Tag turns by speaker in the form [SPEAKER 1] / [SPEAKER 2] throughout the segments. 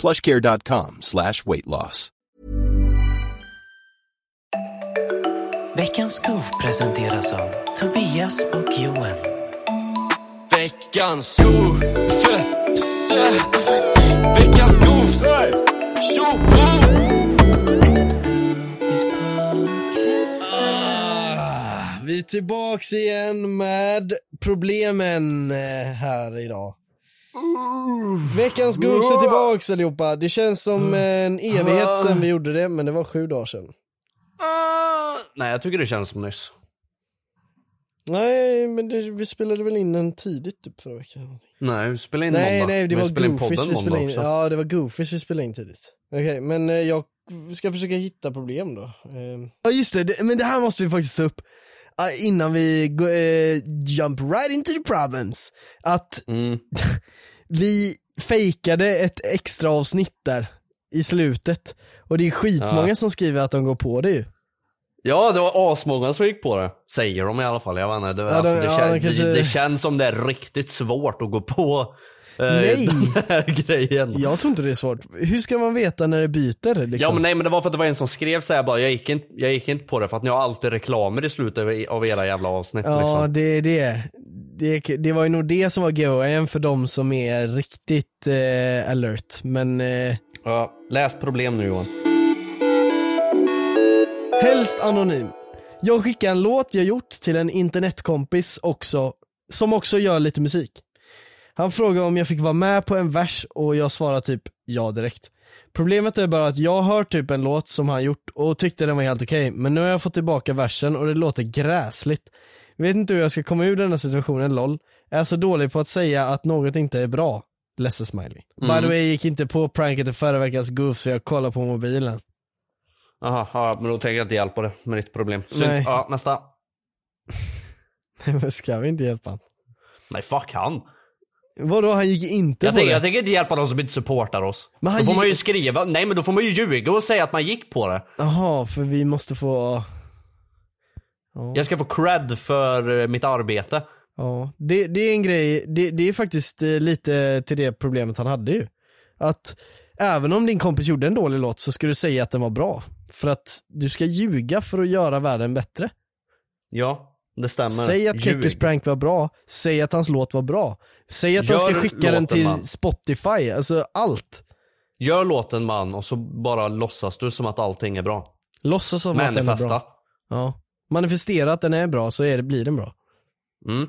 [SPEAKER 1] Plushcare.com slash weight loss.
[SPEAKER 2] Veckans Goof presenteras av Tobias och Johan. Veckans Goof! Veckans Goofs! Tjo!
[SPEAKER 3] Ah, Vi är tillbaks igen med problemen eh, här idag. Veckans Goofs är tillbaks allihopa. Det känns som en evighet sedan vi gjorde det, men det var sju dagar sedan.
[SPEAKER 4] Ah, Nej, jag tycker det känns som nyss.
[SPEAKER 3] Nej, men det, vi spelade väl in den tidigt typ förra veckan.
[SPEAKER 4] Nej, vi spelade in
[SPEAKER 3] Nej,
[SPEAKER 4] måndag.
[SPEAKER 3] nej, det
[SPEAKER 4] vi
[SPEAKER 3] var
[SPEAKER 4] spelade in
[SPEAKER 3] Goofies
[SPEAKER 4] podden
[SPEAKER 3] vi
[SPEAKER 4] måndag
[SPEAKER 3] spelade in.
[SPEAKER 4] också.
[SPEAKER 3] Ja, det var Goofies vi spelade in tidigt. Okej, men eh, jag ska försöka hitta problem då. Ehm. Ja, just det, det, men det här måste vi faktiskt ta upp. ah, Innan vi go, eh, jump right into the problems. Att
[SPEAKER 4] Mm.
[SPEAKER 3] vi fejkade ett extra avsnitt där i slutet. Och det är skitmånga
[SPEAKER 4] Ja.
[SPEAKER 3] som skriver att de går på det ju.
[SPEAKER 4] Ja, det var asmånga som gick på det. Säger de i alla fall. Jag vet inte. Det,
[SPEAKER 3] Ja, de-
[SPEAKER 4] alltså, det,
[SPEAKER 3] ja,
[SPEAKER 4] kän,
[SPEAKER 3] de kanske-
[SPEAKER 4] det, det känns som det är riktigt svårt att gå på eh,
[SPEAKER 3] Nej.
[SPEAKER 4] den här grejen.
[SPEAKER 3] Jag tror inte det är svårt. Hur ska man veta när det byter liksom?
[SPEAKER 4] Ja men nej men det var för att det var en som skrev så här bara, jag gick inte, jag gick inte på det för att ni har alltid reklamer i slutet av- av era jävla avsnitt
[SPEAKER 3] Ja,
[SPEAKER 4] liksom.
[SPEAKER 3] det är det. det. Det var ju nog det som var GHN för de som är riktigt eh, alert. Men eh,
[SPEAKER 4] Ja, läs problem nu Johan.
[SPEAKER 3] helst anonym. Jag skickar en låt jag gjort till en internetkompis också, som också gör lite musik. Han frågade om jag fick vara med på en vers och jag svarade typ ja direkt. Problemet är bara att jag hör typ en låt som han gjort och tyckte den var helt okej, men nu har jag fått tillbaka versen och det låter gräsligt. Vet inte hur jag ska komma ur den här situationen, LOL. Är så dålig på att säga att något inte är bra. Ledsen smiley. By the way, jag gick inte på pranket i förra veckans goof så jag kollar på mobilen.
[SPEAKER 4] Jaha, ja, men då tänker jag inte hjälpa det med ditt problem.
[SPEAKER 3] Nej.
[SPEAKER 4] Synd. Ja, nästa.
[SPEAKER 3] Men ska vi inte hjälpa han?
[SPEAKER 4] Nej fuck han.
[SPEAKER 3] Vadå, han gick inte
[SPEAKER 4] Jag
[SPEAKER 3] på
[SPEAKER 4] tänker,
[SPEAKER 3] det?
[SPEAKER 4] jag tänker inte hjälpa de som inte supportar oss.
[SPEAKER 3] Men han
[SPEAKER 4] då får man ju
[SPEAKER 3] gick-
[SPEAKER 4] skriva, nej men då får man ju ljuga och säga att man gick på det.
[SPEAKER 3] Jaha, för vi måste få...
[SPEAKER 4] Jag ska få cred för eh, mitt arbete.
[SPEAKER 3] Ja, det, det är en grej, det, det är faktiskt eh, lite till det problemet han hade ju. Att även om din kompis gjorde en dålig låt så ska du säga att den var bra. För att du ska ljuga för att göra världen bättre.
[SPEAKER 4] Ja, det stämmer.
[SPEAKER 3] Säg att
[SPEAKER 4] Ljug.
[SPEAKER 3] Kekkos prank var bra, säg att hans låt var bra. Säg att han ska
[SPEAKER 4] Gör
[SPEAKER 3] skicka den
[SPEAKER 4] låten,
[SPEAKER 3] till
[SPEAKER 4] man.
[SPEAKER 3] Spotify, alltså allt.
[SPEAKER 4] Gör låten man och så bara låtsas du som att allting är bra.
[SPEAKER 3] Låtsas som att den är
[SPEAKER 4] Manifesta.
[SPEAKER 3] bra. Ja. Manifestera att den är bra så är det, blir den bra.
[SPEAKER 4] Mm.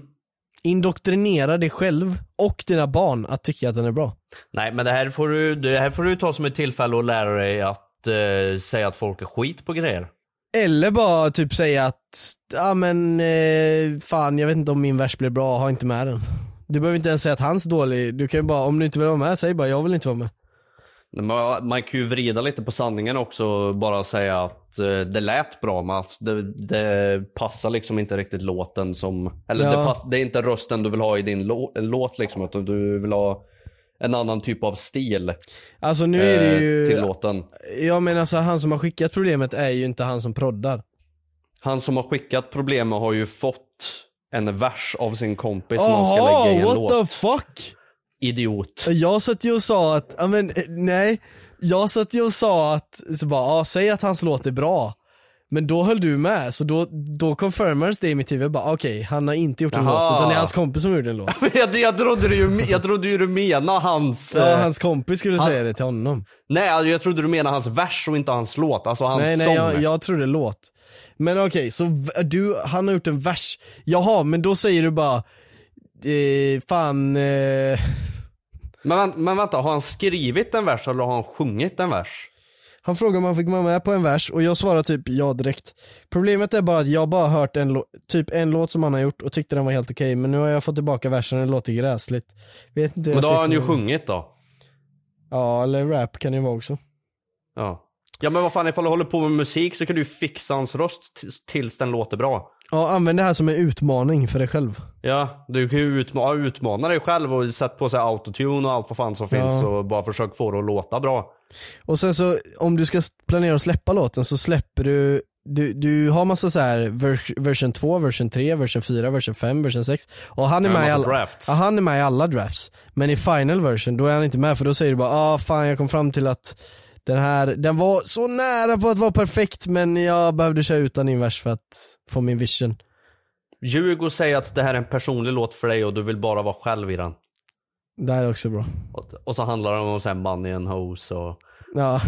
[SPEAKER 3] Indoktrinera dig själv och dina barn att tycka att den är bra.
[SPEAKER 4] Nej men det här, får du, det här får du ta som ett tillfälle att lära dig att eh, säga att folk är skit på grejer.
[SPEAKER 3] Eller bara typ säga att, ja men eh, fan jag vet inte om min vers blev bra, ha inte med den. Du behöver inte ens säga att hans är dålig, du kan ju bara, om du inte vill vara med, säg bara jag vill inte vara med.
[SPEAKER 4] Man, man kan ju vrida lite på sanningen också och bara säga att eh, det lät bra men alltså, det, det passar liksom inte riktigt låten som... Eller
[SPEAKER 3] Ja.
[SPEAKER 4] det, pass, det är inte rösten du vill ha i din lå, låt liksom utan du vill ha en annan typ av stil
[SPEAKER 3] Alltså nu är det
[SPEAKER 4] eh, till
[SPEAKER 3] ju,
[SPEAKER 4] låten.
[SPEAKER 3] jag menar så han som har skickat problemet är ju inte han som proddar.
[SPEAKER 4] Han som har skickat problemet har ju fått en vers av sin kompis när han ska lägga i
[SPEAKER 3] Jaha,
[SPEAKER 4] en
[SPEAKER 3] what
[SPEAKER 4] låt.
[SPEAKER 3] the fuck?
[SPEAKER 4] Idiot.
[SPEAKER 3] Jag satt ju och sa att, ja men eh, nej. Jag satt ju och sa att, så bara, ja, säg att hans låt är bra. Men då höll du med, så då, då confirmades det i mitt huvud, bara okej, han har inte gjort en
[SPEAKER 4] Jaha.
[SPEAKER 3] låt, utan det är hans kompis som gjorde en låt.
[SPEAKER 4] jag, jag, trodde du, ju- jag trodde ju du menade hans...
[SPEAKER 3] Så
[SPEAKER 4] eh,
[SPEAKER 3] hans kompis skulle säga det till honom.
[SPEAKER 4] Nej, alltså, jag trodde du menade hans vers och inte hans låt. Alltså hans
[SPEAKER 3] nej, nej,
[SPEAKER 4] sång.
[SPEAKER 3] jag, jag tror det är låt. Men okej, så v- du, han har gjort en vers. Jaha, men då säger du bara, eh, fan, eh,
[SPEAKER 4] Men, vänt- men vänta, har han skrivit en vers eller har han sjungit en vers?
[SPEAKER 3] Han frågade om han fick vara med på en vers och jag svarade typ ja direkt. Problemet är bara att jag bara hört en lå- typ en låt som han har gjort och tyckte den var helt okej men nu har jag fått tillbaka versen och det låter gräsligt. Vet inte hur
[SPEAKER 4] Men
[SPEAKER 3] jag
[SPEAKER 4] då
[SPEAKER 3] ska
[SPEAKER 4] har han ju
[SPEAKER 3] komma-
[SPEAKER 4] sjungit då.
[SPEAKER 3] Ja eller rap kan det ju vara också.
[SPEAKER 4] Ja. ja men vad fan, ifall du håller på med musik så kan du ju fixa hans röst t- tills den låter bra.
[SPEAKER 3] Ja använd det här som en utmaning för dig själv.
[SPEAKER 4] Ja, du kan ju utma- utmana dig själv och sätta på sig autotune och allt vad fan som finns och bara försök få det att låta bra.
[SPEAKER 3] Och sen så om du ska s- planera att släppa låten så släpper du du, du har massa så här vers, version 2, version 3, version 4, version 5, version 6 och han är,
[SPEAKER 4] Ja,
[SPEAKER 3] med i
[SPEAKER 4] massa
[SPEAKER 3] alla,
[SPEAKER 4] drafts.
[SPEAKER 3] Ja, han är med i alla drafts. Men i final version då är han inte med för då säger du bara ah fan jag kom fram till att den här, den var så nära på att vara perfekt men jag behövde köra utan din vers för att få min vision.
[SPEAKER 4] Ljug och säg att det här är en personlig låt för dig och du vill bara vara själv i den.
[SPEAKER 3] Det här är också bra.
[SPEAKER 4] Och- Och så handlar det om så här money and hoes och...
[SPEAKER 3] Ja.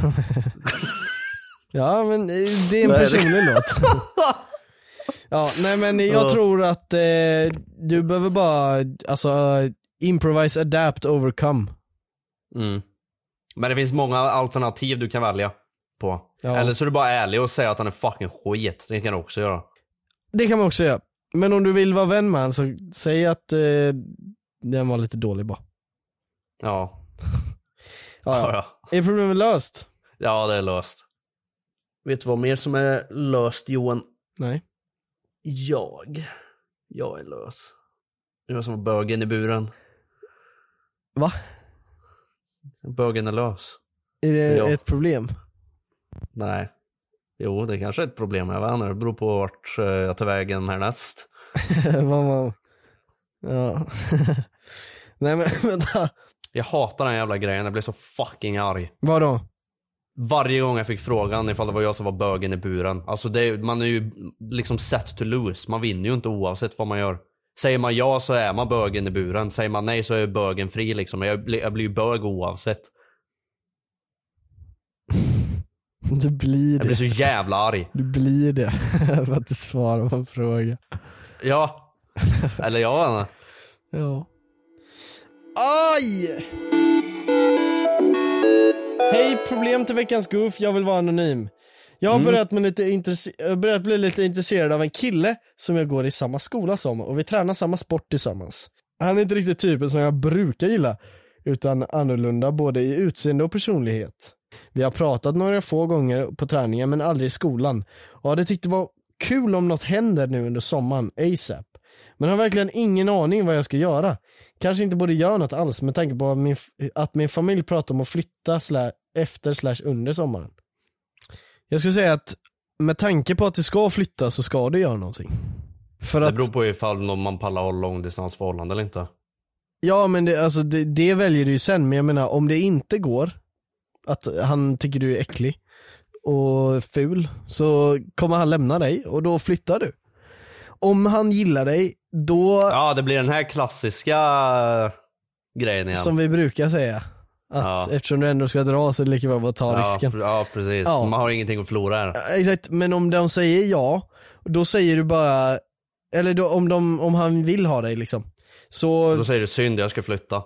[SPEAKER 3] ja men eh, det är en
[SPEAKER 4] Nej, det-
[SPEAKER 3] personlig låt. ja nej men jag
[SPEAKER 4] Ja.
[SPEAKER 3] tror att eh, du behöver bara, alltså eh, improvise, adapt, overcome.
[SPEAKER 4] Mm. Men det finns många alternativ du kan välja på.
[SPEAKER 3] Ja.
[SPEAKER 4] Eller så är du bara ärlig och säger att han är fucking skit. Det kan du också göra.
[SPEAKER 3] Det kan man också göra. Men om du vill vara vän med han så säg att eh, den var lite dålig bara.
[SPEAKER 4] Ja.
[SPEAKER 3] Ja,
[SPEAKER 4] Ja,
[SPEAKER 3] ja.
[SPEAKER 4] ja.
[SPEAKER 3] Är problemet löst?
[SPEAKER 4] ja, det är löst. Vet du vad mer som är löst Johan?
[SPEAKER 3] Nej.
[SPEAKER 4] Jag. Jag är lös. Jag som bögen i buren.
[SPEAKER 3] Va?
[SPEAKER 4] Bögen är lös.
[SPEAKER 3] Är det
[SPEAKER 4] Ja.
[SPEAKER 3] ett problem?
[SPEAKER 4] Nej. Jo, det kanske är ett problem. Jag vet inte. Det beror på vart eh, jag tar vägen härnäst.
[SPEAKER 3] Vad man... Ja. nej men vänta.
[SPEAKER 4] Jag hatar den jävla grejen. Jag blir så fucking arg.
[SPEAKER 3] Vadå?
[SPEAKER 4] Varje gång jag fick frågan ifall det var jag som var bögen i buren. Alltså det, är- man är ju liksom set to lose. Man vinner ju inte oavsett vad man gör. Säger man ja så är man bögen i buren. Säger man nej så är bögen fri liksom. Jag, blir- jag blir ju bög oavsett.
[SPEAKER 3] Du blir
[SPEAKER 4] Jag blir
[SPEAKER 3] det.
[SPEAKER 4] så jävla arg.
[SPEAKER 3] Du blir det. För att du svarar på en fråga.
[SPEAKER 4] Ja. Eller jag vet inte.
[SPEAKER 3] Ja. Aj! Hej, problem till veckans goof. Jag vill vara anonym. Jag har börjat, med lite intresse- jag har börjat bli lite intresserad av en kille som jag går i samma skola som och vi tränar samma sport tillsammans. Han är inte riktigt typen som jag brukar gilla utan annorlunda både i utseende och personlighet. Vi har pratat några få gånger på träningen men aldrig i skolan och hade tyckt det var kul om något händer nu under sommaren ASAP. Men har verkligen ingen aning vad jag ska göra. Kanske inte borde göra något alls med tanke på att min, att min familj pratar om att flytta slä, efter slash under sommaren. Jag skulle säga att med tanke på att du ska flytta så ska du göra någonting. För
[SPEAKER 4] Det
[SPEAKER 3] att,
[SPEAKER 4] beror på ifall någon man pallar ha långdistansförhållande eller inte.
[SPEAKER 3] ja men det, alltså, det, det väljer du ju sen, men jag menar om det inte går, att han tycker du är äcklig och ful, så kommer han lämna dig och då flyttar du. Om han gillar dig, då
[SPEAKER 4] Ja, det blir den här klassiska grejen igen.
[SPEAKER 3] Som vi brukar säga. Att
[SPEAKER 4] Ja.
[SPEAKER 3] eftersom du ändå ska dra så är det lika bra att bara ta
[SPEAKER 4] ja,
[SPEAKER 3] risken.
[SPEAKER 4] pr- ja, precis.
[SPEAKER 3] Ja.
[SPEAKER 4] Man har ingenting att förlora här.
[SPEAKER 3] Exakt, men om de säger ja, då säger du bara, eller då, om, de, om han vill ha dig liksom. Så
[SPEAKER 4] Då säger du synd, jag ska flytta.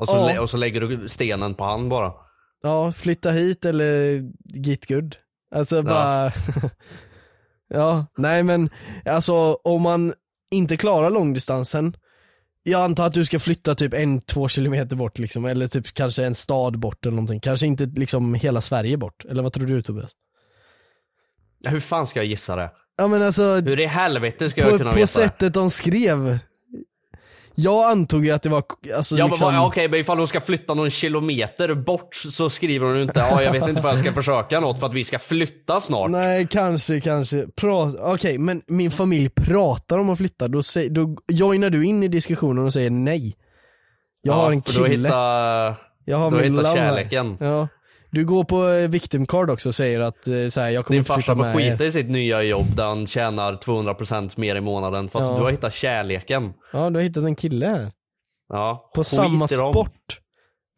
[SPEAKER 4] Och så,
[SPEAKER 3] Ja.
[SPEAKER 4] lä- och så lägger du stenen på han bara.
[SPEAKER 3] ja, flytta hit eller get good. Alltså bara, ja, nej men alltså om man inte klarar långdistansen, jag antar att du ska flytta typ en, två kilometer bort liksom, eller typ kanske en stad bort eller någonting. Kanske inte liksom hela Sverige bort, eller vad tror du Tobias?
[SPEAKER 4] Hur fan ska jag gissa det?
[SPEAKER 3] Ja men alltså,
[SPEAKER 4] Hur i helvete ska jag
[SPEAKER 3] på,
[SPEAKER 4] kunna
[SPEAKER 3] på
[SPEAKER 4] veta det?
[SPEAKER 3] sättet de skrev. Jag antog ju att det var, alltså
[SPEAKER 4] Ja,
[SPEAKER 3] liksom,
[SPEAKER 4] men, vad- ja, okej, men ifall hon ska flytta någon kilometer bort så skriver hon ju inte ja, jag vet inte vad jag ska försöka något för att vi ska flytta snart.
[SPEAKER 3] Nej kanske, kanske. Pra- Okej men min familj pratar om att flytta, då, säger, då joinar du in i diskussionen och säger nej. Jag har en
[SPEAKER 4] för då
[SPEAKER 3] kille,
[SPEAKER 4] hittar,
[SPEAKER 3] jag har
[SPEAKER 4] då
[SPEAKER 3] min
[SPEAKER 4] hittar
[SPEAKER 3] love här.
[SPEAKER 4] kärleken.
[SPEAKER 3] Ja. Du går på eh, victim card också och säger att eh, så här, jag kommer
[SPEAKER 4] Din
[SPEAKER 3] inte
[SPEAKER 4] farsa
[SPEAKER 3] flytta
[SPEAKER 4] får
[SPEAKER 3] med er.
[SPEAKER 4] skita i sitt nya jobb där han tjänar 200% mer i månaden för att
[SPEAKER 3] Ja.
[SPEAKER 4] du har hittat kärleken.
[SPEAKER 3] Ja du har hittat en kille här.
[SPEAKER 4] Ja,
[SPEAKER 3] På
[SPEAKER 4] skit
[SPEAKER 3] samma
[SPEAKER 4] i dem.
[SPEAKER 3] sport.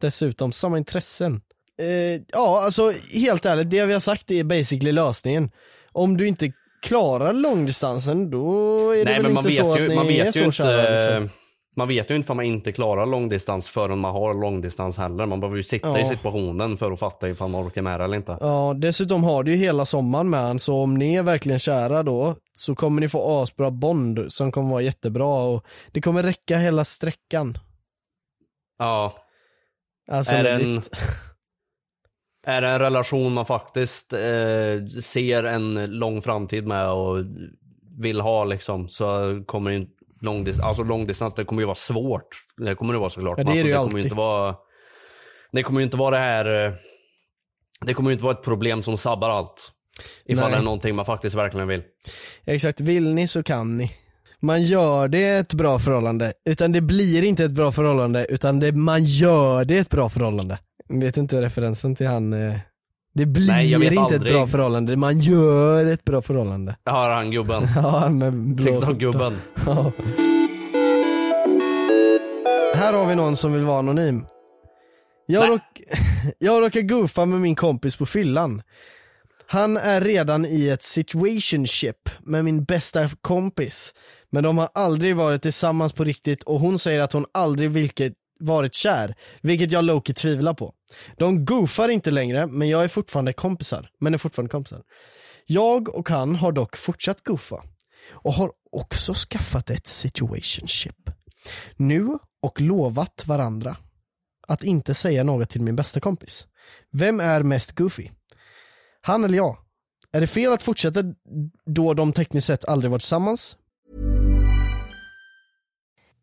[SPEAKER 3] Dessutom, samma intressen. Eh, ja, alltså helt ärligt, det vi har sagt är basically lösningen. Om du inte klarar långdistansen, då är det
[SPEAKER 4] Nej
[SPEAKER 3] väl
[SPEAKER 4] men
[SPEAKER 3] inte
[SPEAKER 4] man
[SPEAKER 3] så
[SPEAKER 4] vet, ju,
[SPEAKER 3] att ni
[SPEAKER 4] man
[SPEAKER 3] är
[SPEAKER 4] vet ju
[SPEAKER 3] så kära.
[SPEAKER 4] inte
[SPEAKER 3] Liksom.
[SPEAKER 4] Man vet ju inte för man inte klarar långdistans förrän man har långdistans heller. Man behöver ju sitta i
[SPEAKER 3] Ja.
[SPEAKER 4] situationen för att fatta ifall man orkar med det eller inte.
[SPEAKER 3] Ja, dessutom har du ju hela sommaren med han, så om ni är verkligen kära då så kommer ni få asbra bond som kommer vara jättebra och det kommer räcka hela sträckan.
[SPEAKER 4] Ja,
[SPEAKER 3] Alltså,
[SPEAKER 4] är, det
[SPEAKER 3] legit.
[SPEAKER 4] en, är det en relation man faktiskt eh, ser en lång framtid med och vill ha liksom så kommer det ju långdistans, alltså långdistans det kommer ju vara svårt. Det kommer det vara såklart.
[SPEAKER 3] Ja, det
[SPEAKER 4] men
[SPEAKER 3] är
[SPEAKER 4] alltså,
[SPEAKER 3] det ju
[SPEAKER 4] kommer ju
[SPEAKER 3] alltid.
[SPEAKER 4] inte vara Det kommer ju inte vara det här eh, Det kommer ju inte vara ett problem som sabbar allt. Ifall
[SPEAKER 3] Nej.
[SPEAKER 4] det är någonting man faktiskt verkligen vill.
[SPEAKER 3] Exakt, vill ni så kan ni. Man gör det ett bra förhållande, utan det blir inte ett bra förhållande, utan det, man gör det ett bra förhållande. Jag Vet inte referensen till han, eh, det blir
[SPEAKER 4] Nej, jag vet
[SPEAKER 3] inte ett
[SPEAKER 4] aldrig.
[SPEAKER 3] bra förhållande, man gör ett bra förhållande.
[SPEAKER 4] Jag har han gubben.
[SPEAKER 3] Ja, han med blå
[SPEAKER 4] TikTok-gubben.
[SPEAKER 3] Ja. Här har vi någon som vill vara anonym. Jag, råk- jag råkar goofa med min kompis på fyllan. Han är redan i ett situationship med min bästa kompis. Men de har aldrig varit tillsammans på riktigt och hon säger att hon aldrig vilket varit kär, vilket jag lowkey tvivlar på. De goofar inte längre, men jag är fortfarande kompisar. Men är fortfarande kompisar. Jag och han har dock fortsatt goofa och har också skaffat ett situationship. Nu och lovat varandra att inte säga något till min bästa kompis. Vem är mest goofy? Han eller jag? Är det fel att fortsätta då de tekniskt sett aldrig varit tillsammans?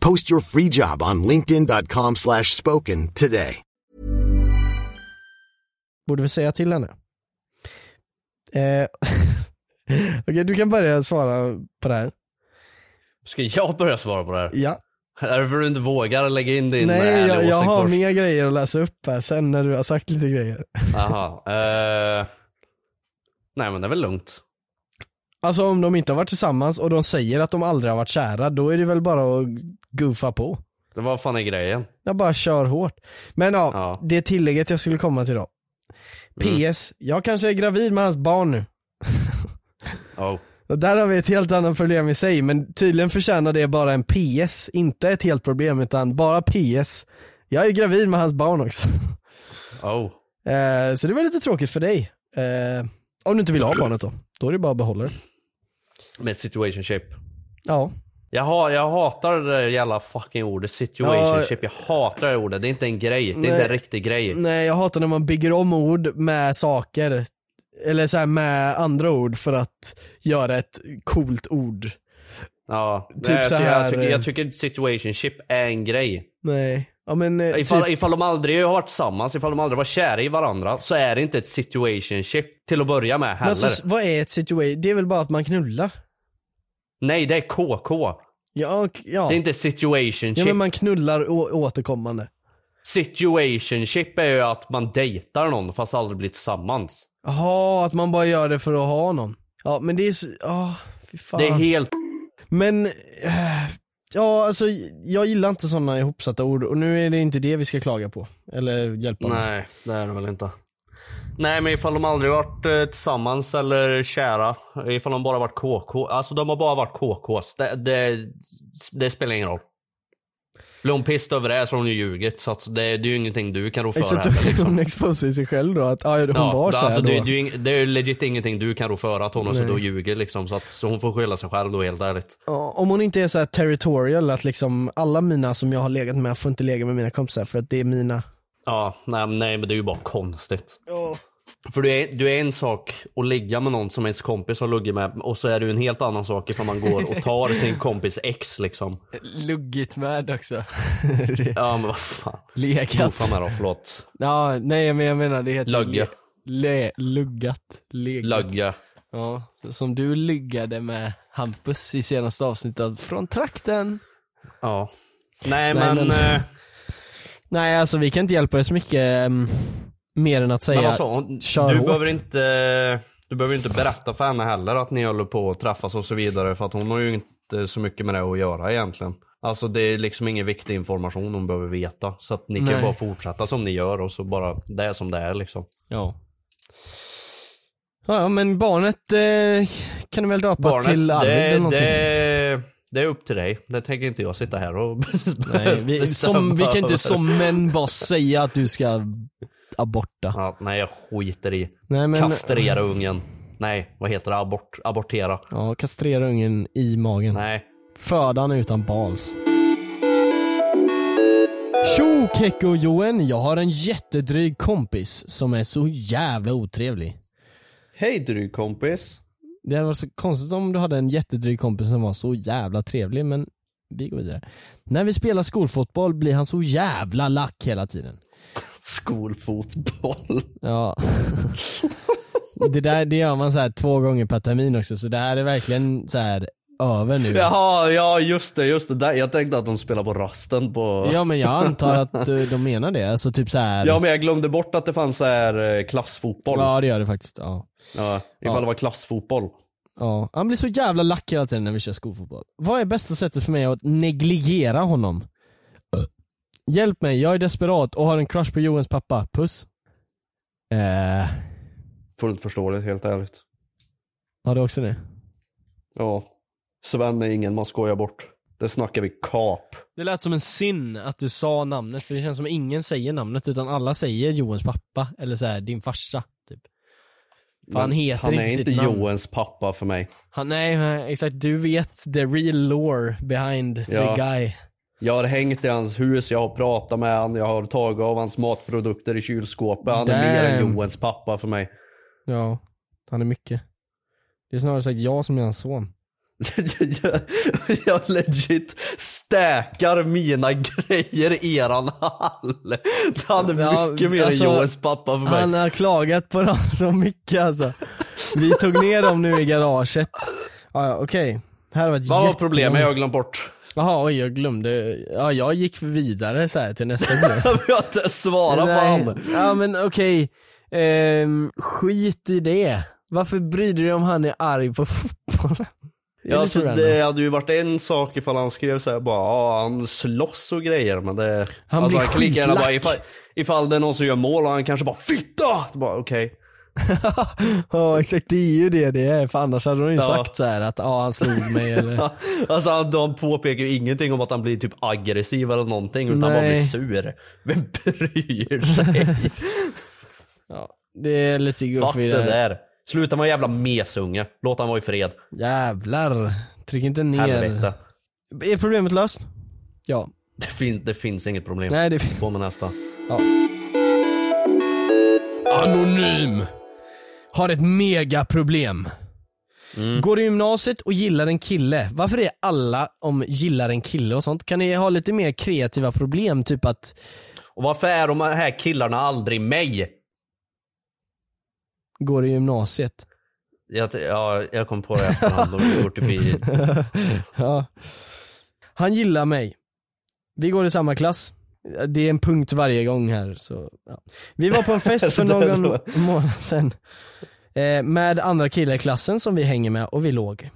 [SPEAKER 5] Post your free job on linkedin.com/spoken slash spoken today.
[SPEAKER 3] Borde vi säga till henne? Eh, Okej, du kan börja svara på det här.
[SPEAKER 4] Ska jag börja svara på det här?
[SPEAKER 3] Ja.
[SPEAKER 4] Är det för att du inte vågar lägga in din eh,
[SPEAKER 3] Nej,
[SPEAKER 4] ärliga
[SPEAKER 3] jag, jag
[SPEAKER 4] åsikt
[SPEAKER 3] har
[SPEAKER 4] först?
[SPEAKER 3] mer grejer att läsa upp här sen när du har sagt lite grejer.
[SPEAKER 4] Aha. Eh... Nej men det är väl lugnt.
[SPEAKER 3] Alltså om de inte har varit tillsammans och de säger att de aldrig har varit kära, då är det väl bara att goofa på.
[SPEAKER 4] Det var fan är grejen?
[SPEAKER 3] Jag bara kör hårt. Men ja,
[SPEAKER 4] Ja.
[SPEAKER 3] det tillägget jag skulle komma till då. PS, jag kanske är gravid med hans barn nu.
[SPEAKER 4] Oh.
[SPEAKER 3] Och där har vi ett helt annat problem i sig, men tydligen förtjänar det bara en PS, inte ett helt problem utan bara PS. Jag är gravid med hans barn också.
[SPEAKER 4] Oh.
[SPEAKER 3] Eh, så det var lite tråkigt för dig. Eh, om du inte vill ha barnet då, då är det bara att behålla det.
[SPEAKER 4] Med situationship.
[SPEAKER 3] Ja,
[SPEAKER 4] Jag, ha, jag hatar det där jävla fucking ordet situationship. Jag hatar det ordet. Det är inte en grej. Det är inte en riktig grej.
[SPEAKER 3] Nej Mm. jag hatar när man bygger om ord med saker, eller så här med andra ord för att göra ett coolt ord.
[SPEAKER 4] Ja.
[SPEAKER 3] Typ
[SPEAKER 4] Nej, jag,
[SPEAKER 3] så
[SPEAKER 4] jag,
[SPEAKER 3] här,
[SPEAKER 4] tycker,
[SPEAKER 3] eh.
[SPEAKER 4] jag tycker situationship är en grej.
[SPEAKER 3] Nej, ja men eh,
[SPEAKER 4] Ifall,
[SPEAKER 3] typ,
[SPEAKER 4] ifall de aldrig har varit tillsammans, ifall de aldrig var kära i varandra så är det inte ett situationship till att börja med
[SPEAKER 3] men
[SPEAKER 4] heller.
[SPEAKER 3] alltså, vad är ett situation? Det är väl bara att man knullar?
[SPEAKER 4] Nej, det är KK.
[SPEAKER 3] Ja, och- ja.
[SPEAKER 4] Det är inte situationship.
[SPEAKER 3] ja men man knullar å- återkommande.
[SPEAKER 4] Situationship är ju att man dejtar någon fast aldrig blivit tillsammans.
[SPEAKER 3] Jaha, att man bara gör det för att ha någon. Ja men det är så, ja, fy fan.
[SPEAKER 4] Det är helt...
[SPEAKER 3] Men, eh, ja alltså jag gillar inte sådana ihopsatta ord och nu är det inte det vi ska klaga på. Eller hjälpa med.
[SPEAKER 4] Nej, det är det väl inte. Nej men ifall de aldrig varit eh, tillsammans eller kära. Ifall de bara varit KK. Alltså de har bara varit KKs. Det, det, det spelar ingen roll. Blir hon pissed över det så har hon ju ljugit. Så att det, det är ju ingenting du kan rå för
[SPEAKER 3] Exakt,
[SPEAKER 4] heller. Liksom.
[SPEAKER 3] hon exposar sig själv då att ah, hon
[SPEAKER 4] det-
[SPEAKER 3] var såhär
[SPEAKER 4] alltså,
[SPEAKER 3] då.
[SPEAKER 4] det, det, är ju ing- det är ju legit ingenting du kan rå för att hon har suttit
[SPEAKER 3] Nej.
[SPEAKER 4] och ljugit liksom. Så att så hon får skylla sig själv då helt ärligt.
[SPEAKER 3] Ja, Om hon inte är så här territorial att liksom alla mina som jag har legat med får inte lägga med mina kompisar för att det är mina.
[SPEAKER 4] Ja, nej, men- nej men det är ju bara konstigt. För du är, du är en sak att ligga med någon som ens kompis har luggit med och så är du en helt annan sak ifall man går och tar sin kompis ex liksom.
[SPEAKER 6] Luggigt med också.
[SPEAKER 4] Ja men vad fan.
[SPEAKER 6] Legat.
[SPEAKER 4] Ofa med då, förlåt.
[SPEAKER 6] ja, nej men jag menar det heter
[SPEAKER 4] Lugge.
[SPEAKER 6] Le, luggat. Legat.
[SPEAKER 4] Lugga.
[SPEAKER 6] Ja, så- som du luggade med Hampus i senaste avsnittet av från trakten.
[SPEAKER 4] Ja. Nej,
[SPEAKER 6] Nej,
[SPEAKER 4] men...
[SPEAKER 6] men-
[SPEAKER 4] eh,
[SPEAKER 3] Nej alltså vi kan inte hjälpa dig så mycket ehm, mer än att säga
[SPEAKER 4] Men vad sa hon?
[SPEAKER 3] kör
[SPEAKER 4] Du
[SPEAKER 3] hårt.
[SPEAKER 4] behöver, inte, du behöver inte berätta för henne heller att ni håller på att träffas och så vidare för att hon har ju inte så mycket med det att göra egentligen. Alltså det är liksom ingen viktig information hon behöver veta. Så att ni kan
[SPEAKER 6] Nej.
[SPEAKER 4] ju bara fortsätta som ni gör och så bara det är som det är liksom.
[SPEAKER 6] Ja.
[SPEAKER 3] Ja men barnet eh, kan du väl döpa till
[SPEAKER 4] Barnet,
[SPEAKER 3] Arvid eller
[SPEAKER 4] det,
[SPEAKER 3] någonting?
[SPEAKER 4] det, det är upp till dig. Det tänker inte jag sitta här och
[SPEAKER 6] Nej, vi, som, vi kan inte som män bara säga att du ska aborta.
[SPEAKER 4] Ja, nej jag skiter i.
[SPEAKER 3] Nej, men-
[SPEAKER 4] Kastrera ungen. Nej, vad heter det? Abort, abortera.
[SPEAKER 3] Ja, kastrera ungen i magen.
[SPEAKER 4] Nej.
[SPEAKER 3] Föda han utan bals. Tjo Kekko och Joen, jag har en jättedryg kompis som är så jävla otrevlig.
[SPEAKER 4] Hej dryg kompis.
[SPEAKER 3] Det hade varit så konstigt om du hade en jättedryg kompis som var så jävla trevlig men vi går vidare. När vi spelar skolfotboll blir han så jävla lack hela tiden.
[SPEAKER 4] Skolfotboll.
[SPEAKER 3] Ja. det där det gör man så här två gånger per termin också så det här är verkligen så här över nu.
[SPEAKER 4] Jaha, ja just det, just det. Där, jag tänkte att de spelar på rasten på...
[SPEAKER 3] Ja men jag antar att eh, de menar det. Alltså typ så här.
[SPEAKER 4] Ja, men jag glömde bort att det fanns så här eh, klassfotboll. Ja.
[SPEAKER 3] Ja det gör det faktiskt. Ja.
[SPEAKER 4] ifall det var klassfotboll.
[SPEAKER 3] Ja. Han blir så jävla lack hela tiden när vi kör skolfotboll. Vad är bästa sättet för mig att negligera honom? Eh. Hjälp mig, jag är desperat och har en crush på Johans pappa. Puss. Eh,
[SPEAKER 4] Fullt förståeligt helt ärligt.
[SPEAKER 3] har du också det?
[SPEAKER 4] Ja. Sven är ingen man skojar bort. Det snackar vi kap.
[SPEAKER 6] Det lät som en sin att du sa namnet, för det känns som ingen säger namnet utan alla säger Johans pappa, eller så här, din farsa. Typ. För han
[SPEAKER 4] Men
[SPEAKER 6] heter
[SPEAKER 4] han
[SPEAKER 6] inte
[SPEAKER 4] är
[SPEAKER 6] sitt
[SPEAKER 4] inte
[SPEAKER 6] namn.
[SPEAKER 4] Johans pappa för mig.
[SPEAKER 6] Han, nej, nej, exakt. Du vet the real lore behind
[SPEAKER 4] Ja.
[SPEAKER 6] the guy.
[SPEAKER 4] Jag har hängt i hans hus, jag har pratat med han, jag har tagit av hans matprodukter i kylskåpet. Han är mer än
[SPEAKER 3] Damn.
[SPEAKER 4] Johans pappa för mig.
[SPEAKER 3] Ja, han är mycket. Det är snarare sagt jag som är hans son.
[SPEAKER 4] jag, jag legit stäkar mina grejer i eran hall. Han är
[SPEAKER 3] Ja,
[SPEAKER 4] mycket mer
[SPEAKER 3] alltså,
[SPEAKER 4] än Johans pappa för mig.
[SPEAKER 3] Han har klagat på dem så mycket alltså. Vi tog ner dem nu i garaget. Ja, ja, okej. Här var ett
[SPEAKER 4] Vad var
[SPEAKER 3] jättelångt-
[SPEAKER 4] problemet? Jag har glömt bort.
[SPEAKER 3] Jaha, oj jag glömde. Ja, jag gick vidare så här till nästa grej.
[SPEAKER 4] jag har inte svarat på han.
[SPEAKER 3] Ja men okej. Ehm, skit i det. Varför bryr du dig om han är arg på fotbollen? Är
[SPEAKER 4] Ja, alltså,
[SPEAKER 3] så
[SPEAKER 4] det hade ju varit en sak ifall han skrev såhär bara ah, han slåss och grejer men det...
[SPEAKER 3] Han
[SPEAKER 4] alltså,
[SPEAKER 3] blir
[SPEAKER 4] klickar gärna bara
[SPEAKER 3] skitlack.
[SPEAKER 4] ifall, ifall det är någon som gör mål och han kanske bara FITTA! Bara okej.
[SPEAKER 3] Ja exakt, det är ju det det är. För annars hade de ju
[SPEAKER 4] Ja.
[SPEAKER 3] sagt så här att ja han slog mig eller.
[SPEAKER 4] Alltså han, de påpekar ju ingenting om att han blir typ aggressiv eller någonting utan han bara
[SPEAKER 3] Nej.
[SPEAKER 4] blir sur. Vem bryr sig?
[SPEAKER 3] Ja, det är lite
[SPEAKER 4] Fuck
[SPEAKER 3] goofy
[SPEAKER 4] det
[SPEAKER 3] där.
[SPEAKER 4] där. Sluta med jävla mesunge. Låt han vara i fred.
[SPEAKER 3] Jävlar. Tryck inte ner.
[SPEAKER 4] Helvete.
[SPEAKER 3] Är problemet löst? Ja.
[SPEAKER 4] Det, fin- det finns inget problem.
[SPEAKER 3] Nej det är
[SPEAKER 4] På med nästa.
[SPEAKER 3] Anonym. Har ett megaproblem.
[SPEAKER 4] Mm.
[SPEAKER 3] Går i gymnasiet och gillar en kille. Varför är alla om gillar en kille och sånt? Kan ni ha lite mer kreativa problem? Typ att
[SPEAKER 4] Och varför är de här killarna aldrig mig?
[SPEAKER 3] går i gymnasiet.
[SPEAKER 4] Jag, ja, jag kom på det i efterhand. De går typ i...
[SPEAKER 3] ja. Han gillar mig. Vi går i samma klass. Det är en punkt varje gång här så, ja. Vi var på en fest för
[SPEAKER 7] Det där
[SPEAKER 3] någon
[SPEAKER 7] var-
[SPEAKER 3] månad sedan eh, Med andra killar i klassen som vi hänger med och vi låg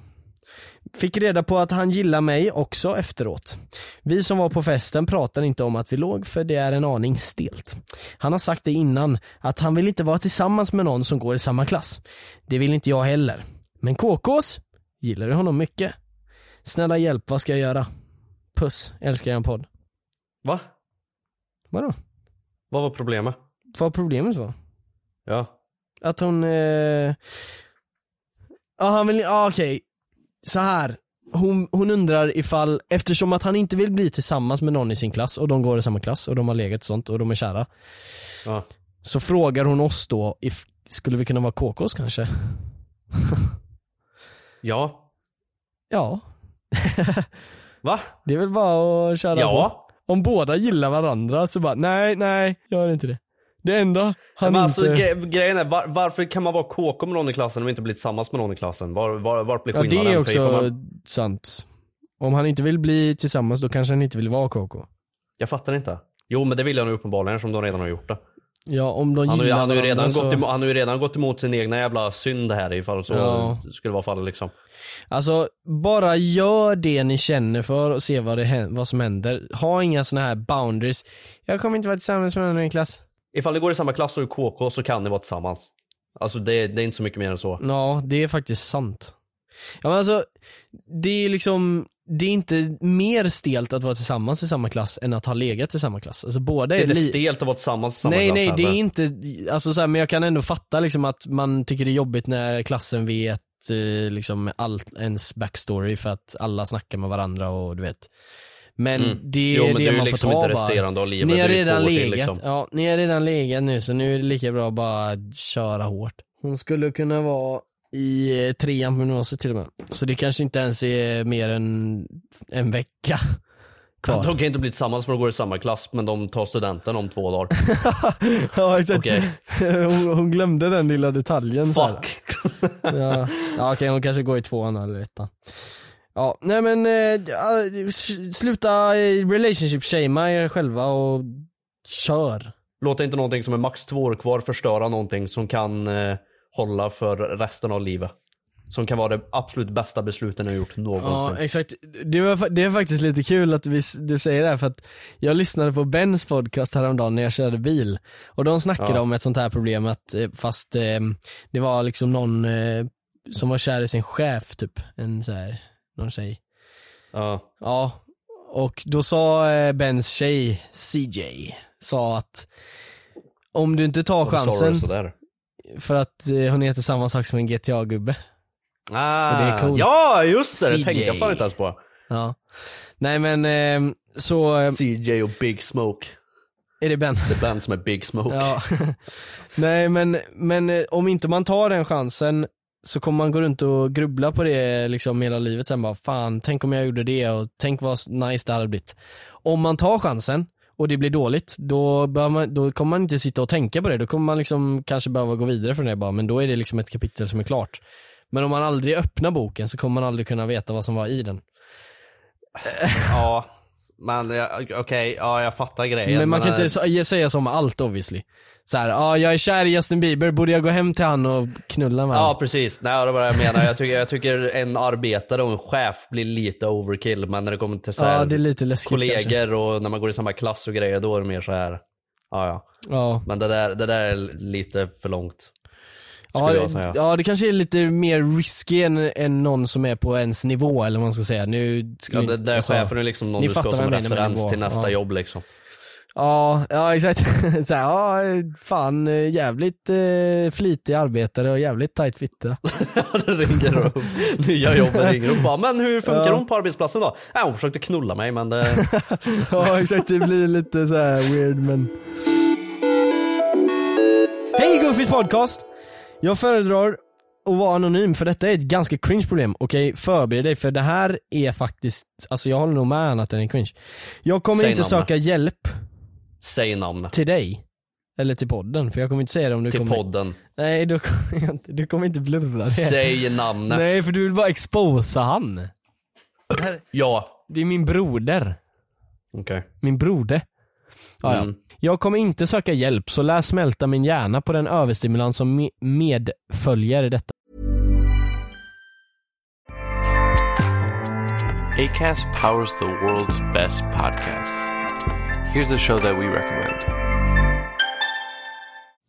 [SPEAKER 3] Fick reda på att han gillar mig också efteråt Vi som var på festen pratade inte om att vi låg för det är en aning stelt Han har sagt det innan, att han vill inte vara tillsammans med någon som går i samma klass Det vill inte jag heller Men KKs gillar ju honom mycket Snälla hjälp, vad ska jag göra? Puss, älskar er podd
[SPEAKER 4] Va?
[SPEAKER 3] Vadå?
[SPEAKER 4] Vad var problemet?
[SPEAKER 3] Vad problemet var?
[SPEAKER 4] Ja.
[SPEAKER 3] Att hon... Eh... Ja han vill, ja okej. Så här. Hon, hon undrar ifall, eftersom att han inte vill bli tillsammans med någon i sin klass och de går i samma klass och de har legat och sånt och de är kära.
[SPEAKER 4] Ja.
[SPEAKER 3] Så frågar hon oss då, if, skulle vi kunna vara KKs kanske?
[SPEAKER 4] Ja.
[SPEAKER 3] Ja.
[SPEAKER 4] Va?
[SPEAKER 3] Det är väl bara att köra
[SPEAKER 4] Ja.
[SPEAKER 3] på. Om båda gillar varandra så bara, nej, nej, gör inte det. Det enda han
[SPEAKER 4] men alltså,
[SPEAKER 3] inte...
[SPEAKER 4] gre- grejen är, var, varför kan man vara KK med någon i klassen och inte bli tillsammans med någon i klassen? Var, var, var blir
[SPEAKER 3] Ja det
[SPEAKER 4] skillnaden?
[SPEAKER 3] är
[SPEAKER 4] För
[SPEAKER 3] också
[SPEAKER 4] ifall man,
[SPEAKER 3] sant. Om han inte vill bli tillsammans då kanske han inte vill vara KK.
[SPEAKER 4] jag fattar inte. Jo men det vill han ju uppenbarligen som de redan har gjort det.
[SPEAKER 3] Ja om
[SPEAKER 4] Han
[SPEAKER 3] de
[SPEAKER 4] har, ju,
[SPEAKER 3] gillar
[SPEAKER 4] han, har ju
[SPEAKER 3] varandra
[SPEAKER 4] redan
[SPEAKER 3] så...
[SPEAKER 4] gått emot, han har ju redan gått emot sin egna jävla synd här ifall så
[SPEAKER 3] Ja.
[SPEAKER 4] skulle vara fallet liksom.
[SPEAKER 3] Alltså bara gör det ni känner för och se vad, det, hän- vad som händer. Ha inga såna här boundaries. Jag kommer inte vara tillsammans med någon i en klass.
[SPEAKER 4] Ifall ni går i samma klass och är KK så kan ni vara tillsammans. Alltså det, det är inte så mycket mer än så.
[SPEAKER 3] Ja det är faktiskt sant. Ja men alltså, det är liksom, det är inte mer stelt att vara tillsammans i samma klass än att ha legat i samma klass. Alltså båda
[SPEAKER 4] Det är
[SPEAKER 3] är
[SPEAKER 4] inte
[SPEAKER 3] li-
[SPEAKER 4] stelt att vara tillsammans i samma
[SPEAKER 3] nej,
[SPEAKER 4] klass
[SPEAKER 3] Nej det
[SPEAKER 4] heller.
[SPEAKER 3] är inte, alltså så här, men jag kan ändå fatta liksom att man tycker det är jobbigt när klassen vet eh, liksom allt ens backstory för att alla snackar med varandra och du vet. Men
[SPEAKER 4] Mm.
[SPEAKER 3] det är
[SPEAKER 4] Jo, men
[SPEAKER 3] det
[SPEAKER 4] det är ju
[SPEAKER 3] man
[SPEAKER 4] liksom
[SPEAKER 3] får ta
[SPEAKER 4] inte resterande
[SPEAKER 3] bara.
[SPEAKER 4] av livet,
[SPEAKER 3] Ni har
[SPEAKER 4] det är ju två
[SPEAKER 3] redan
[SPEAKER 4] år till,
[SPEAKER 3] legat,
[SPEAKER 4] liksom.
[SPEAKER 3] ja, ni har redan legat nu så nu är det lika bra att bara köra hårt. Hon skulle kunna vara i eh, trean på gymnasiet till och med. Så det kanske inte ens är mer än en vecka kvar.
[SPEAKER 4] De kan inte bli tillsammans för de går i samma klass men de tar studenten om två dagar.
[SPEAKER 3] Ja exakt.
[SPEAKER 4] Okej.
[SPEAKER 3] Hon, hon glömde den lilla detaljen. så här.
[SPEAKER 4] Fuck.
[SPEAKER 3] Ja, ja okej hon kanske går i tvåan eller ettan. Ja, nej men eh, ja, s- sluta eh, relationship shamea er själva och kör.
[SPEAKER 4] Låt inte någonting som är max två år kvar förstöra någonting som kan eh, hålla för resten av livet. Som kan vara det absolut bästa besluten jag har gjort någonsin.
[SPEAKER 3] Ja exakt, det, var, fa- det är faktiskt lite kul att vi, s- du säger det här för att jag lyssnade på Bens podcast häromdagen när jag körde bil och de snackade
[SPEAKER 4] Ja.
[SPEAKER 3] om ett sånt här problem att eh, fast eh, det var liksom någon eh, som var kär i sin chef typ, en så här, någon tjej.
[SPEAKER 4] Ja.
[SPEAKER 3] Ja, och då sa eh, Bens tjej, CJ, sa att om du inte tar
[SPEAKER 4] Varför sa du
[SPEAKER 3] chansen,
[SPEAKER 4] sådär?
[SPEAKER 3] för att eh, hon heter samma sak som en GTA-gubbe.
[SPEAKER 4] Ah,
[SPEAKER 3] Och det är coolt.
[SPEAKER 4] Ja, just det!
[SPEAKER 3] CJ.
[SPEAKER 4] Det tänkte jag fan inte ens på.
[SPEAKER 3] Ja. Nej men, eh, så eh,
[SPEAKER 4] CJ och Big Smoke.
[SPEAKER 3] är det Ben.
[SPEAKER 4] Det band som är Big Smoke.
[SPEAKER 3] Ja. Nej men, men eh, om inte man tar den chansen så kommer man gå runt och grubbla på det liksom hela livet sen bara fan tänk om jag gjorde det och tänk vad nice det hade blivit. Om man tar chansen och det blir dåligt då, bör man, då kommer man inte sitta och tänka på det, då kommer man liksom kanske behöva gå vidare från det bara men då är det liksom ett kapitel som är klart. Men om man aldrig öppnar boken så kommer man aldrig kunna veta vad som var i den.
[SPEAKER 4] Ja, men ja, okej, ja jag fattar grejen.
[SPEAKER 3] Men man kan
[SPEAKER 4] eh,
[SPEAKER 3] inte så- säga så om allt obviously. Så här, ja jag är kär i Justin Bieber, borde jag gå hem till han och knulla med
[SPEAKER 4] Ja
[SPEAKER 3] han?
[SPEAKER 4] precis, Nej, det var det jag menar. Jag tycker, jag tycker en arbetare och en chef blir lite overkill men när det kommer till så här,
[SPEAKER 3] Ja det är lite läskigt kanske.
[SPEAKER 4] kollegor och när man går i samma klass och grejer då är det mer så här. Ja, ja.
[SPEAKER 3] Ja.
[SPEAKER 4] Men det där, det där är lite för långt. Skulle
[SPEAKER 3] Ja,
[SPEAKER 4] jag säga.
[SPEAKER 3] det- ja det kanske är lite mer risky än, än någon som är på ens nivå eller vad man ska säga. Nu ska
[SPEAKER 4] Ja,
[SPEAKER 3] vi-
[SPEAKER 4] det där
[SPEAKER 3] alltså,
[SPEAKER 4] chefen är liksom någon
[SPEAKER 3] ni
[SPEAKER 4] du ska ha
[SPEAKER 3] fattar
[SPEAKER 4] som
[SPEAKER 3] vad jag menar med
[SPEAKER 4] referens
[SPEAKER 3] nivå.
[SPEAKER 4] till nästa
[SPEAKER 3] Ja.
[SPEAKER 4] jobb liksom.
[SPEAKER 3] Ja, ja exakt. så här, ja, fan eh, jävligt eh, flitig arbetare och jävligt tajt fitta.
[SPEAKER 4] Då ringer de upp, nya jobbet ringer upp och bara, men hur funkar
[SPEAKER 3] Ja.
[SPEAKER 4] hon på arbetsplatsen då? Äh, hon försökte knulla mig men det...
[SPEAKER 3] ja exakt, det blir lite så här weird men... Hej Guffis podcast! Jag föredrar att vara anonym för detta är ett ganska cringe problem. Okej, förbered dig för det här är faktiskt, alltså jag håller nog med han att den är cringe. Jag kommer
[SPEAKER 4] Säg
[SPEAKER 3] inte
[SPEAKER 4] namnet.
[SPEAKER 3] söka hjälp
[SPEAKER 4] Säg namnet.
[SPEAKER 3] till dig. Eller till podden, för jag kommer inte säga det om du
[SPEAKER 4] Till
[SPEAKER 3] kommer...
[SPEAKER 4] podden.
[SPEAKER 3] Nej, då kommer jag inte, du kommer inte blurra det.
[SPEAKER 4] Säg namnet.
[SPEAKER 3] Nej, för du vill bara exposa han.
[SPEAKER 4] Ja.
[SPEAKER 3] Det är min broder.
[SPEAKER 4] Okej.
[SPEAKER 3] Min broder. Ja, ja.
[SPEAKER 4] Mm.
[SPEAKER 3] Jag kommer inte söka hjälp, så lär smälta min hjärna på den överstimulans som me- medföljer detta.
[SPEAKER 8] ACAST powers the world's best podcasts. Here's a show that we recommend.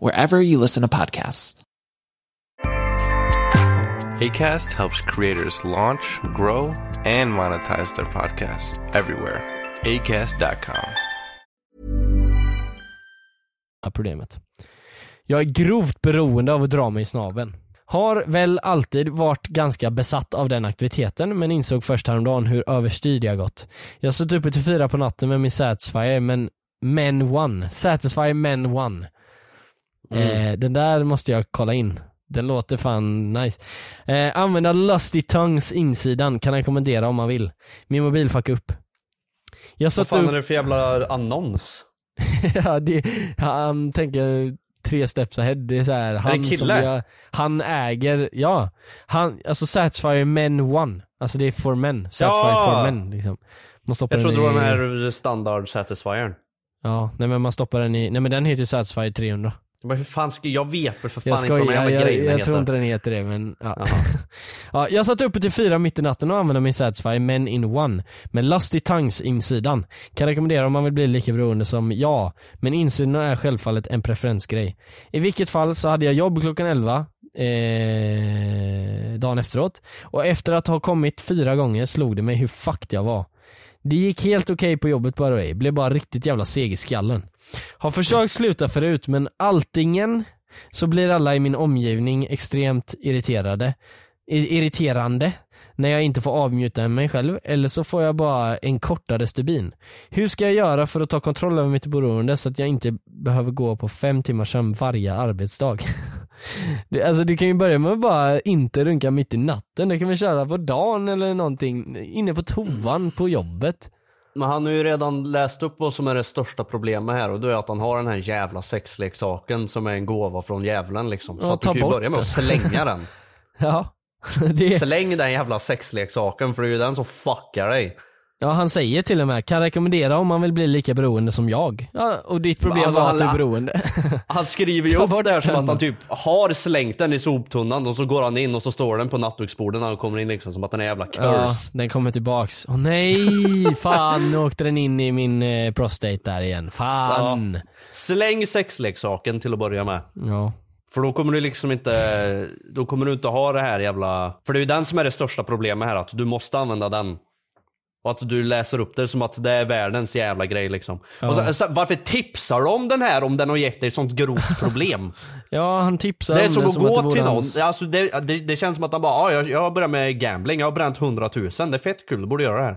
[SPEAKER 7] wherever you listen to podcasts.
[SPEAKER 8] ACAST helps creators launch, grow, and monetize their podcasts everywhere. ACAST.com.
[SPEAKER 3] problemet. Jag är grovt beroende av att dra mig i snaven. Har väl alltid varit ganska besatt av den aktiviteten men insåg först häromdagen hur överstyrd jag gått. Jag satt uppe till fyra på natten med min Satisfyer men Men One. Satisfyer Men One.
[SPEAKER 9] Mm.
[SPEAKER 3] Eh, den där måste jag kolla in. Den låter fan nice. Eh, använda Lusty Tongues insidan kan jag rekommendera om man vill. Min mobil fuckade upp. Jag
[SPEAKER 4] Vad
[SPEAKER 3] satte
[SPEAKER 4] fan
[SPEAKER 3] upp...
[SPEAKER 4] är det för jävla annons?
[SPEAKER 3] ja, det, han tänker tre steps ahead. Det är så här, han
[SPEAKER 4] kille?
[SPEAKER 3] som jag, han äger, ja. Han, alltså Satisfyer Men One. Alltså det är for men. Satisfyer
[SPEAKER 4] Ja!
[SPEAKER 3] for men liksom. Man stoppar
[SPEAKER 4] Jag trodde det var
[SPEAKER 3] den i,
[SPEAKER 4] den här standard satisfiern.
[SPEAKER 3] Ja, nej men man stoppar den i, nej men den heter ju Satisfyer 300.
[SPEAKER 4] Men hur fan ska jag vet väl för fan
[SPEAKER 3] Jag,
[SPEAKER 4] inte vad de
[SPEAKER 3] skojar,
[SPEAKER 4] jävla
[SPEAKER 3] jag, jag,
[SPEAKER 4] grejerna
[SPEAKER 3] jag tror
[SPEAKER 4] heter.
[SPEAKER 3] inte den heter det men ja. ja, jag satt uppe till fyra mitt i natten och använde min Satisfy Men in One med Lusty Tongues insidan. Kan rekommendera om man vill bli lika beroende som jag, men insidan är självfallet en preferensgrej. I vilket fall så hade jag jobb klockan 11 eh, dagen efteråt och efter att ha kommit fyra gånger slog det mig hur fucked jag var. Det gick helt okej på jobbet by the way, blev bara riktigt jävla seg i skallen. Har försökt sluta förut men alltingen så blir alla i min omgivning extremt irriterade. I- irriterande när jag inte får avmjuta mig själv eller så får jag bara en kortare stubin. Hur ska jag göra för att ta kontroll över mitt beroende så att jag inte behöver gå på fem timmars sömn varje arbetsdag? Det, alltså du kan ju börja med att bara inte runka mitt i natten, det kan vi köra på dagen eller någonting, inne på toan på jobbet.
[SPEAKER 4] Men han har ju redan läst upp vad som är det största problemet här och det är att han har den här jävla sexleksaken som är en gåva från djävulen liksom. Så
[SPEAKER 3] Ja,
[SPEAKER 4] att
[SPEAKER 3] ta
[SPEAKER 4] du kan ju
[SPEAKER 3] bort
[SPEAKER 4] börja med att
[SPEAKER 3] den.
[SPEAKER 4] slänga den.
[SPEAKER 3] Ja. Det...
[SPEAKER 4] Släng den jävla sexleksaken för det är ju den som fuckar dig.
[SPEAKER 3] Ja han säger till och med, kan rekommendera om man vill bli lika beroende som jag. Ja, och ditt problem
[SPEAKER 4] Alltså,
[SPEAKER 3] var att du är
[SPEAKER 4] alla-
[SPEAKER 3] beroende.
[SPEAKER 4] Han skriver ju
[SPEAKER 3] Ta
[SPEAKER 4] upp
[SPEAKER 3] bort
[SPEAKER 4] det här som
[SPEAKER 3] den.
[SPEAKER 4] att han typ har slängt den i soptunnan och så går han in och så står den på nattduksbordet när han kommer in liksom som att den är jävla
[SPEAKER 3] Ja,
[SPEAKER 4] curse.
[SPEAKER 3] den kommer tillbaks. Åh nej, fan nu åkte den in i min eh, prostate där igen. Fan.
[SPEAKER 4] Ja. Släng sexleksaken till att börja med.
[SPEAKER 3] Ja.
[SPEAKER 4] För då kommer du liksom inte, då kommer du inte ha det här jävla... För det är ju den som är det största problemet här, att du måste använda den. Och att du läser upp det som att det är världens jävla grej liksom.
[SPEAKER 3] Ja.
[SPEAKER 4] Och så, så, varför tipsar du om den här om den har gett dig ett sånt grovt problem?
[SPEAKER 3] Ja, han tipsar
[SPEAKER 4] det är
[SPEAKER 3] om
[SPEAKER 4] som
[SPEAKER 3] det
[SPEAKER 4] att gå
[SPEAKER 3] det vore
[SPEAKER 4] till någon.
[SPEAKER 3] hans-
[SPEAKER 4] Alltså, det, det, det känns som att han bara, ah, jag, jag har börjat med gambling, jag har bränt 100 000, det är fett kul, du borde göra det här.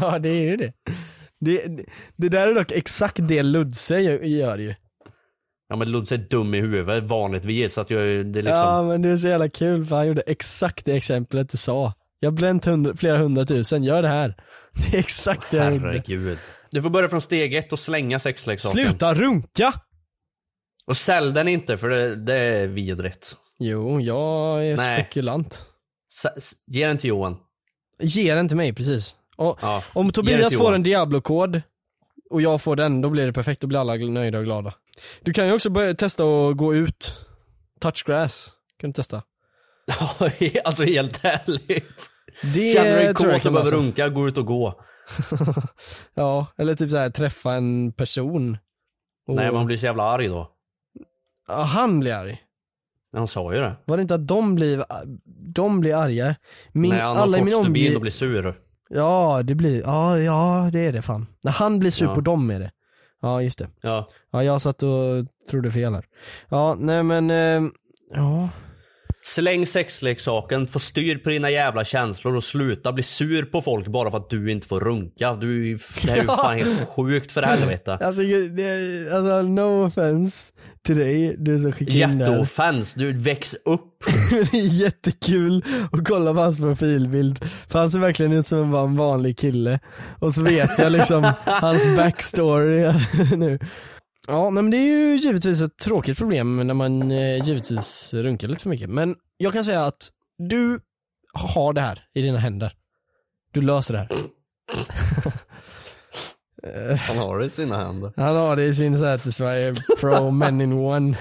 [SPEAKER 3] Ja det är ju det. det. Det där är dock exakt det Ludse gör, gör ju.
[SPEAKER 4] Ja men Ludse är dum i huvudet vanligtvis, så att jag, det är liksom...
[SPEAKER 3] Ja men det är så jävla kul för han gjorde exakt det exemplet du sa. Jag har bränt hundra, flera hundratusen, gör det här. Det är exakt det jag gjorde.
[SPEAKER 4] Herregud. Du får börja från steg ett och slänga liksom. sexleksaken.
[SPEAKER 3] Sluta runka!
[SPEAKER 4] Och sälj den inte för det, det är vidrigt.
[SPEAKER 3] Jo, jag är
[SPEAKER 4] Nej.
[SPEAKER 3] spekulant.
[SPEAKER 4] S- s- ge den till Johan.
[SPEAKER 3] Ge den till mig precis. Och,
[SPEAKER 4] Ja.
[SPEAKER 3] Om
[SPEAKER 4] Ge det till
[SPEAKER 3] Tobias får
[SPEAKER 4] Johan.
[SPEAKER 3] en Diablo-kod och jag får den, då blir det perfekt. Då blir alla gl- nöjda och glada. Du kan ju också börja testa att gå ut. Touch grass. Kan du testa?
[SPEAKER 4] Ja, alltså helt ärligt.
[SPEAKER 3] Det
[SPEAKER 4] Känner du dig
[SPEAKER 3] tror jag
[SPEAKER 4] kåt
[SPEAKER 3] kan
[SPEAKER 4] och behöver
[SPEAKER 3] lösa.
[SPEAKER 4] runka, gå ut och gå.
[SPEAKER 3] Ja, eller typ så här träffa en person. Och-
[SPEAKER 4] Nej man blir så jävla arg då.
[SPEAKER 3] Ja, han blir arg.
[SPEAKER 4] Han sa ju det.
[SPEAKER 3] Var det inte att de blir, de blir arga? Min,
[SPEAKER 4] Nej, han har
[SPEAKER 3] alla i min
[SPEAKER 4] kortstubin
[SPEAKER 3] omgivning.
[SPEAKER 4] och blir sur.
[SPEAKER 3] Ja, det blir, ja, ja det är det fan. När han blir sur
[SPEAKER 4] Ja.
[SPEAKER 3] på dem är det. Ja, just det.
[SPEAKER 4] Ja.
[SPEAKER 3] Ja, jag satt och trodde fel här. Ja, nej men, eh, ja.
[SPEAKER 4] Släng sexleksaken, få styr på dina jävla känslor och sluta bli sur på folk bara för att du inte får runka. Du, är ju- det här är ju fan helt sjukt för helvete.
[SPEAKER 3] Alltså, gud, det- alltså no offense till dig, du som skickade in det här.
[SPEAKER 4] Jätteoffens, du väx upp.
[SPEAKER 3] det är jättekul att kolla på hans profilbild för han ser verkligen ut som en van- vanlig kille och så vet jag liksom hans backstory nu. Ja nej, men det är ju givetvis ett tråkigt problem när man eh, givetvis runkar lite för mycket men jag kan säga att du har det här i dina händer. Du löser det här.
[SPEAKER 4] Han har det i sina händer.
[SPEAKER 3] Han har det i sin Satisfyer Pro Men in One.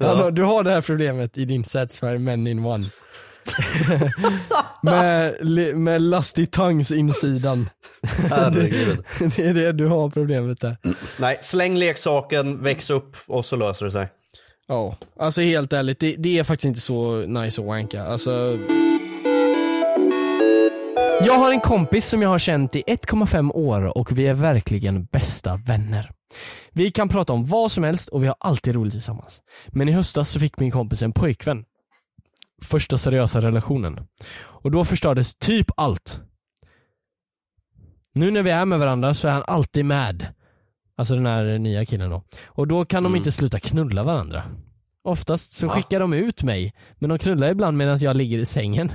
[SPEAKER 3] Han har, du har det här problemet i din Satisfyer Men in One. med, li- med Lusty Tongues insidan.
[SPEAKER 4] Herregud.
[SPEAKER 3] det, det är det du har problemet där.
[SPEAKER 4] Nej, släng leksaken, väx upp och så löser det sig.
[SPEAKER 3] Ja, alltså helt ärligt, det, det är faktiskt inte så nice att wanka. Alltså... Jag har en kompis som jag har känt i 1,5 år och vi är verkligen bästa vänner. Vi kan prata om vad som helst och vi har alltid roligt tillsammans. Men i höstas så fick min kompis en pojkvän. Första seriösa relationen. Och då förstördes typ allt. Nu när vi är med varandra så är han alltid med. Alltså den här nya killen då. Och då kan de inte sluta knulla varandra. Oftast så skickar de ut mig, men de knullar ibland medan jag ligger i sängen.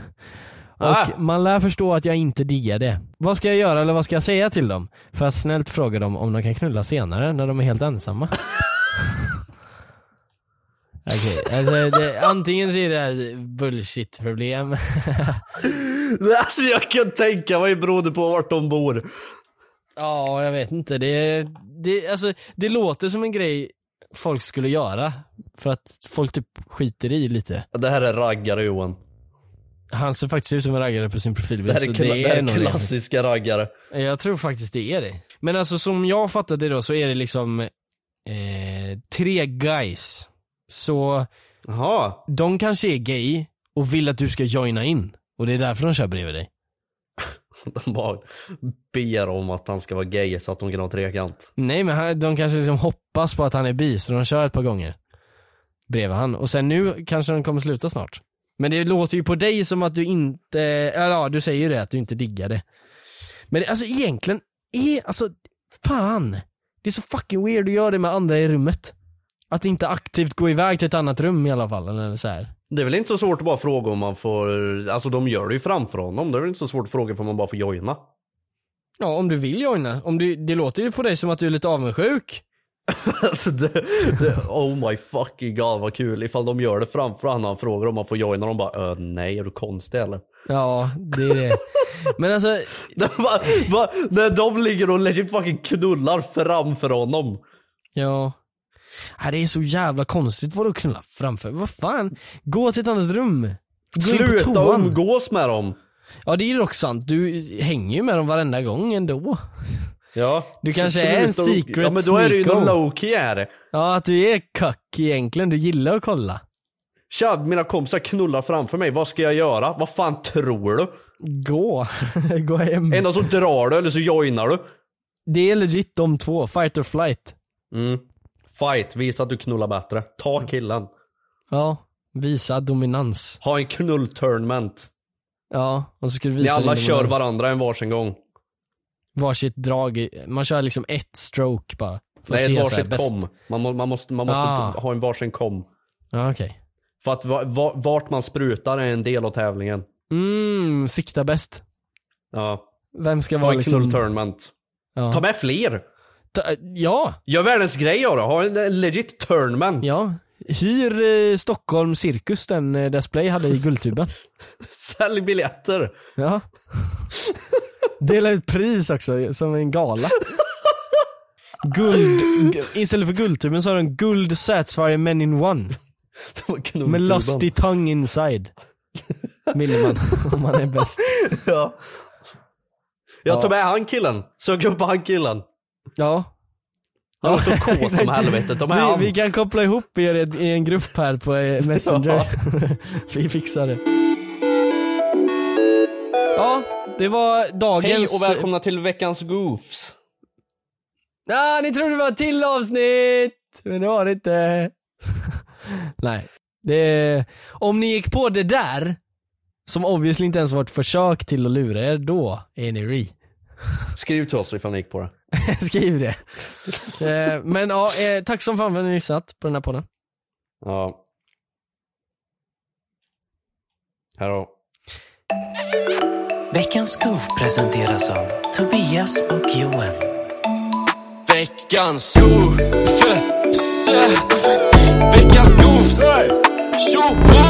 [SPEAKER 3] Och
[SPEAKER 6] Ah.
[SPEAKER 3] man lär förstå att jag inte diggar det. Vad ska jag göra eller vad ska jag säga till dem? För att snällt fråga dem om de kan knulla senare när de är helt ensamma. Okej, alltså det, antingen så är det här bullshit-problem.
[SPEAKER 4] Alltså jag kan tänka mig, beror det på vart de bor.
[SPEAKER 3] Ja, jag vet inte. Det, det, alltså, det låter som en grej folk skulle göra. För att folk typ skiter i lite.
[SPEAKER 4] Det här är raggare Johan.
[SPEAKER 3] Han ser faktiskt ut som en raggare på sin
[SPEAKER 4] Det
[SPEAKER 3] profilbild.
[SPEAKER 4] här är,
[SPEAKER 3] så
[SPEAKER 4] kla- det här är
[SPEAKER 3] nog det.
[SPEAKER 4] klassiska raggare.
[SPEAKER 3] Jag tror faktiskt det är det. Men alltså som jag fattade det då så är det liksom eh, tre guys. Så de kanske är gay och vill att du ska joina in. Och det är därför de kör bredvid dig.
[SPEAKER 4] De bara ber om att han ska vara gay så att de kan ha trekant.
[SPEAKER 3] Nej men han, de kanske liksom hoppas på att han är bi så de kör ett par gånger bredvid han. Och sen nu kanske de kommer sluta snart. Men det låter ju på dig som att du inte, eller ja du säger ju det att du inte diggar det. Men det- alltså egentligen, är, alltså fan. Det är så fucking weird att göra det med andra i rummet. Att inte aktivt gå iväg till ett annat rum i alla fall eller så här.
[SPEAKER 4] Det är väl inte så svårt att bara fråga om man får, alltså de gör det ju framför honom. Det är väl inte så svårt att fråga om man bara får joina.
[SPEAKER 3] Ja om du vill joina, om du, det låter ju på dig som att du är lite avundsjuk.
[SPEAKER 4] alltså det, det, oh my fucking god vad kul ifall de gör det framför honom han frågar om man får joina. De bara, "Ö, nej är du konstig eller?
[SPEAKER 3] Ja det är det. Men alltså
[SPEAKER 4] Va, va, när de ligger och legit fucking knullar framför honom.
[SPEAKER 3] Ja. Ja, Det är så jävla konstigt vad du knulla framför. Vad fan? Gå till ett annat rum. Gå in på
[SPEAKER 4] Sluta
[SPEAKER 3] toan.
[SPEAKER 4] umgås med dem.
[SPEAKER 3] Ja det är ju dock sant. Du hänger ju med dem varenda gång ändå.
[SPEAKER 4] Ja.
[SPEAKER 3] Du kanske är en
[SPEAKER 4] Sluta um-
[SPEAKER 3] secret
[SPEAKER 4] Ja men då är det ju
[SPEAKER 3] sneako.
[SPEAKER 4] någon low-key är det.
[SPEAKER 3] Ja att du är kack egentligen. Du gillar att kolla.
[SPEAKER 4] Tja, mina kompisar knullar framför mig. Vad ska jag göra? Vad fan tror du?
[SPEAKER 3] Gå. Gå hem.
[SPEAKER 4] Ändå så drar du eller så joinar du.
[SPEAKER 3] Det är legit de två. Fight or flight.
[SPEAKER 4] Mm. Fight, visa att du knullar bättre. Ta killen.
[SPEAKER 3] Ja. Visa dominans.
[SPEAKER 4] Ha en knulltournament.
[SPEAKER 3] Ja. Och så ska du
[SPEAKER 4] Ni
[SPEAKER 3] visa
[SPEAKER 4] alla
[SPEAKER 3] din
[SPEAKER 4] kör
[SPEAKER 3] dominans.
[SPEAKER 4] varandra en varsin gång.
[SPEAKER 3] Varsitt drag. i- Man kör liksom ett stroke bara. För att
[SPEAKER 4] Nej,
[SPEAKER 3] se
[SPEAKER 4] ett
[SPEAKER 3] så här
[SPEAKER 4] varsitt
[SPEAKER 3] bäst.
[SPEAKER 4] kom. Man, må, man måste, man måste
[SPEAKER 3] Ah.
[SPEAKER 4] t- ha en varsin kom.
[SPEAKER 3] Ja okej.
[SPEAKER 4] För att va, va, vart man sprutar är en del av tävlingen.
[SPEAKER 3] Mm, sikta bäst.
[SPEAKER 4] Ja.
[SPEAKER 3] Vem ska
[SPEAKER 4] Ha
[SPEAKER 3] vara
[SPEAKER 4] en
[SPEAKER 3] liksom...
[SPEAKER 4] knulltournament.
[SPEAKER 3] Ja.
[SPEAKER 4] Ta med fler!
[SPEAKER 3] Ta- Ja,
[SPEAKER 4] Gör världens grej av det. Ha en en legit tournament.
[SPEAKER 3] ja. Hyr eh, Stockholm Cirkus den eh, display hade i Guldtuben.
[SPEAKER 4] Sälj biljetter.
[SPEAKER 3] Ja. Dela ut pris också, som en gala. Guld, gu- istället för Guldtuben så har de Guld Satisfyer Men in One. Med Lusty Tongue Inside. Vill man, om man är bäst.
[SPEAKER 4] Ja. Jag tar
[SPEAKER 3] Ja.
[SPEAKER 4] med han killen. Sök upp han killen.
[SPEAKER 3] Ja.
[SPEAKER 4] Han är också kåt som helvete. Ta med han.
[SPEAKER 3] Vi, vi kan koppla ihop er i en- i en grupp här på eh, Messenger. vi fixar det. Ja, det var
[SPEAKER 4] Hej
[SPEAKER 3] dagens...
[SPEAKER 4] och välkomna till veckans goofs.
[SPEAKER 3] Ah, ni trodde det var ett till avsnitt! Men det var det inte. Nej. Det, om ni gick på det där, som obviously inte ens var ett försök till att lura er, då är ni re.
[SPEAKER 4] Skriv till oss ifall ni gick på det.
[SPEAKER 3] Skriv det. Eh, Men ja, eh, tack som fan för att ni har lyssnat på den här podden.
[SPEAKER 4] Ja. Hallå.
[SPEAKER 7] Veckans Goof presenteras av Tobias och Johan.
[SPEAKER 10] Veckans gofse Veckans gofse Tjoho!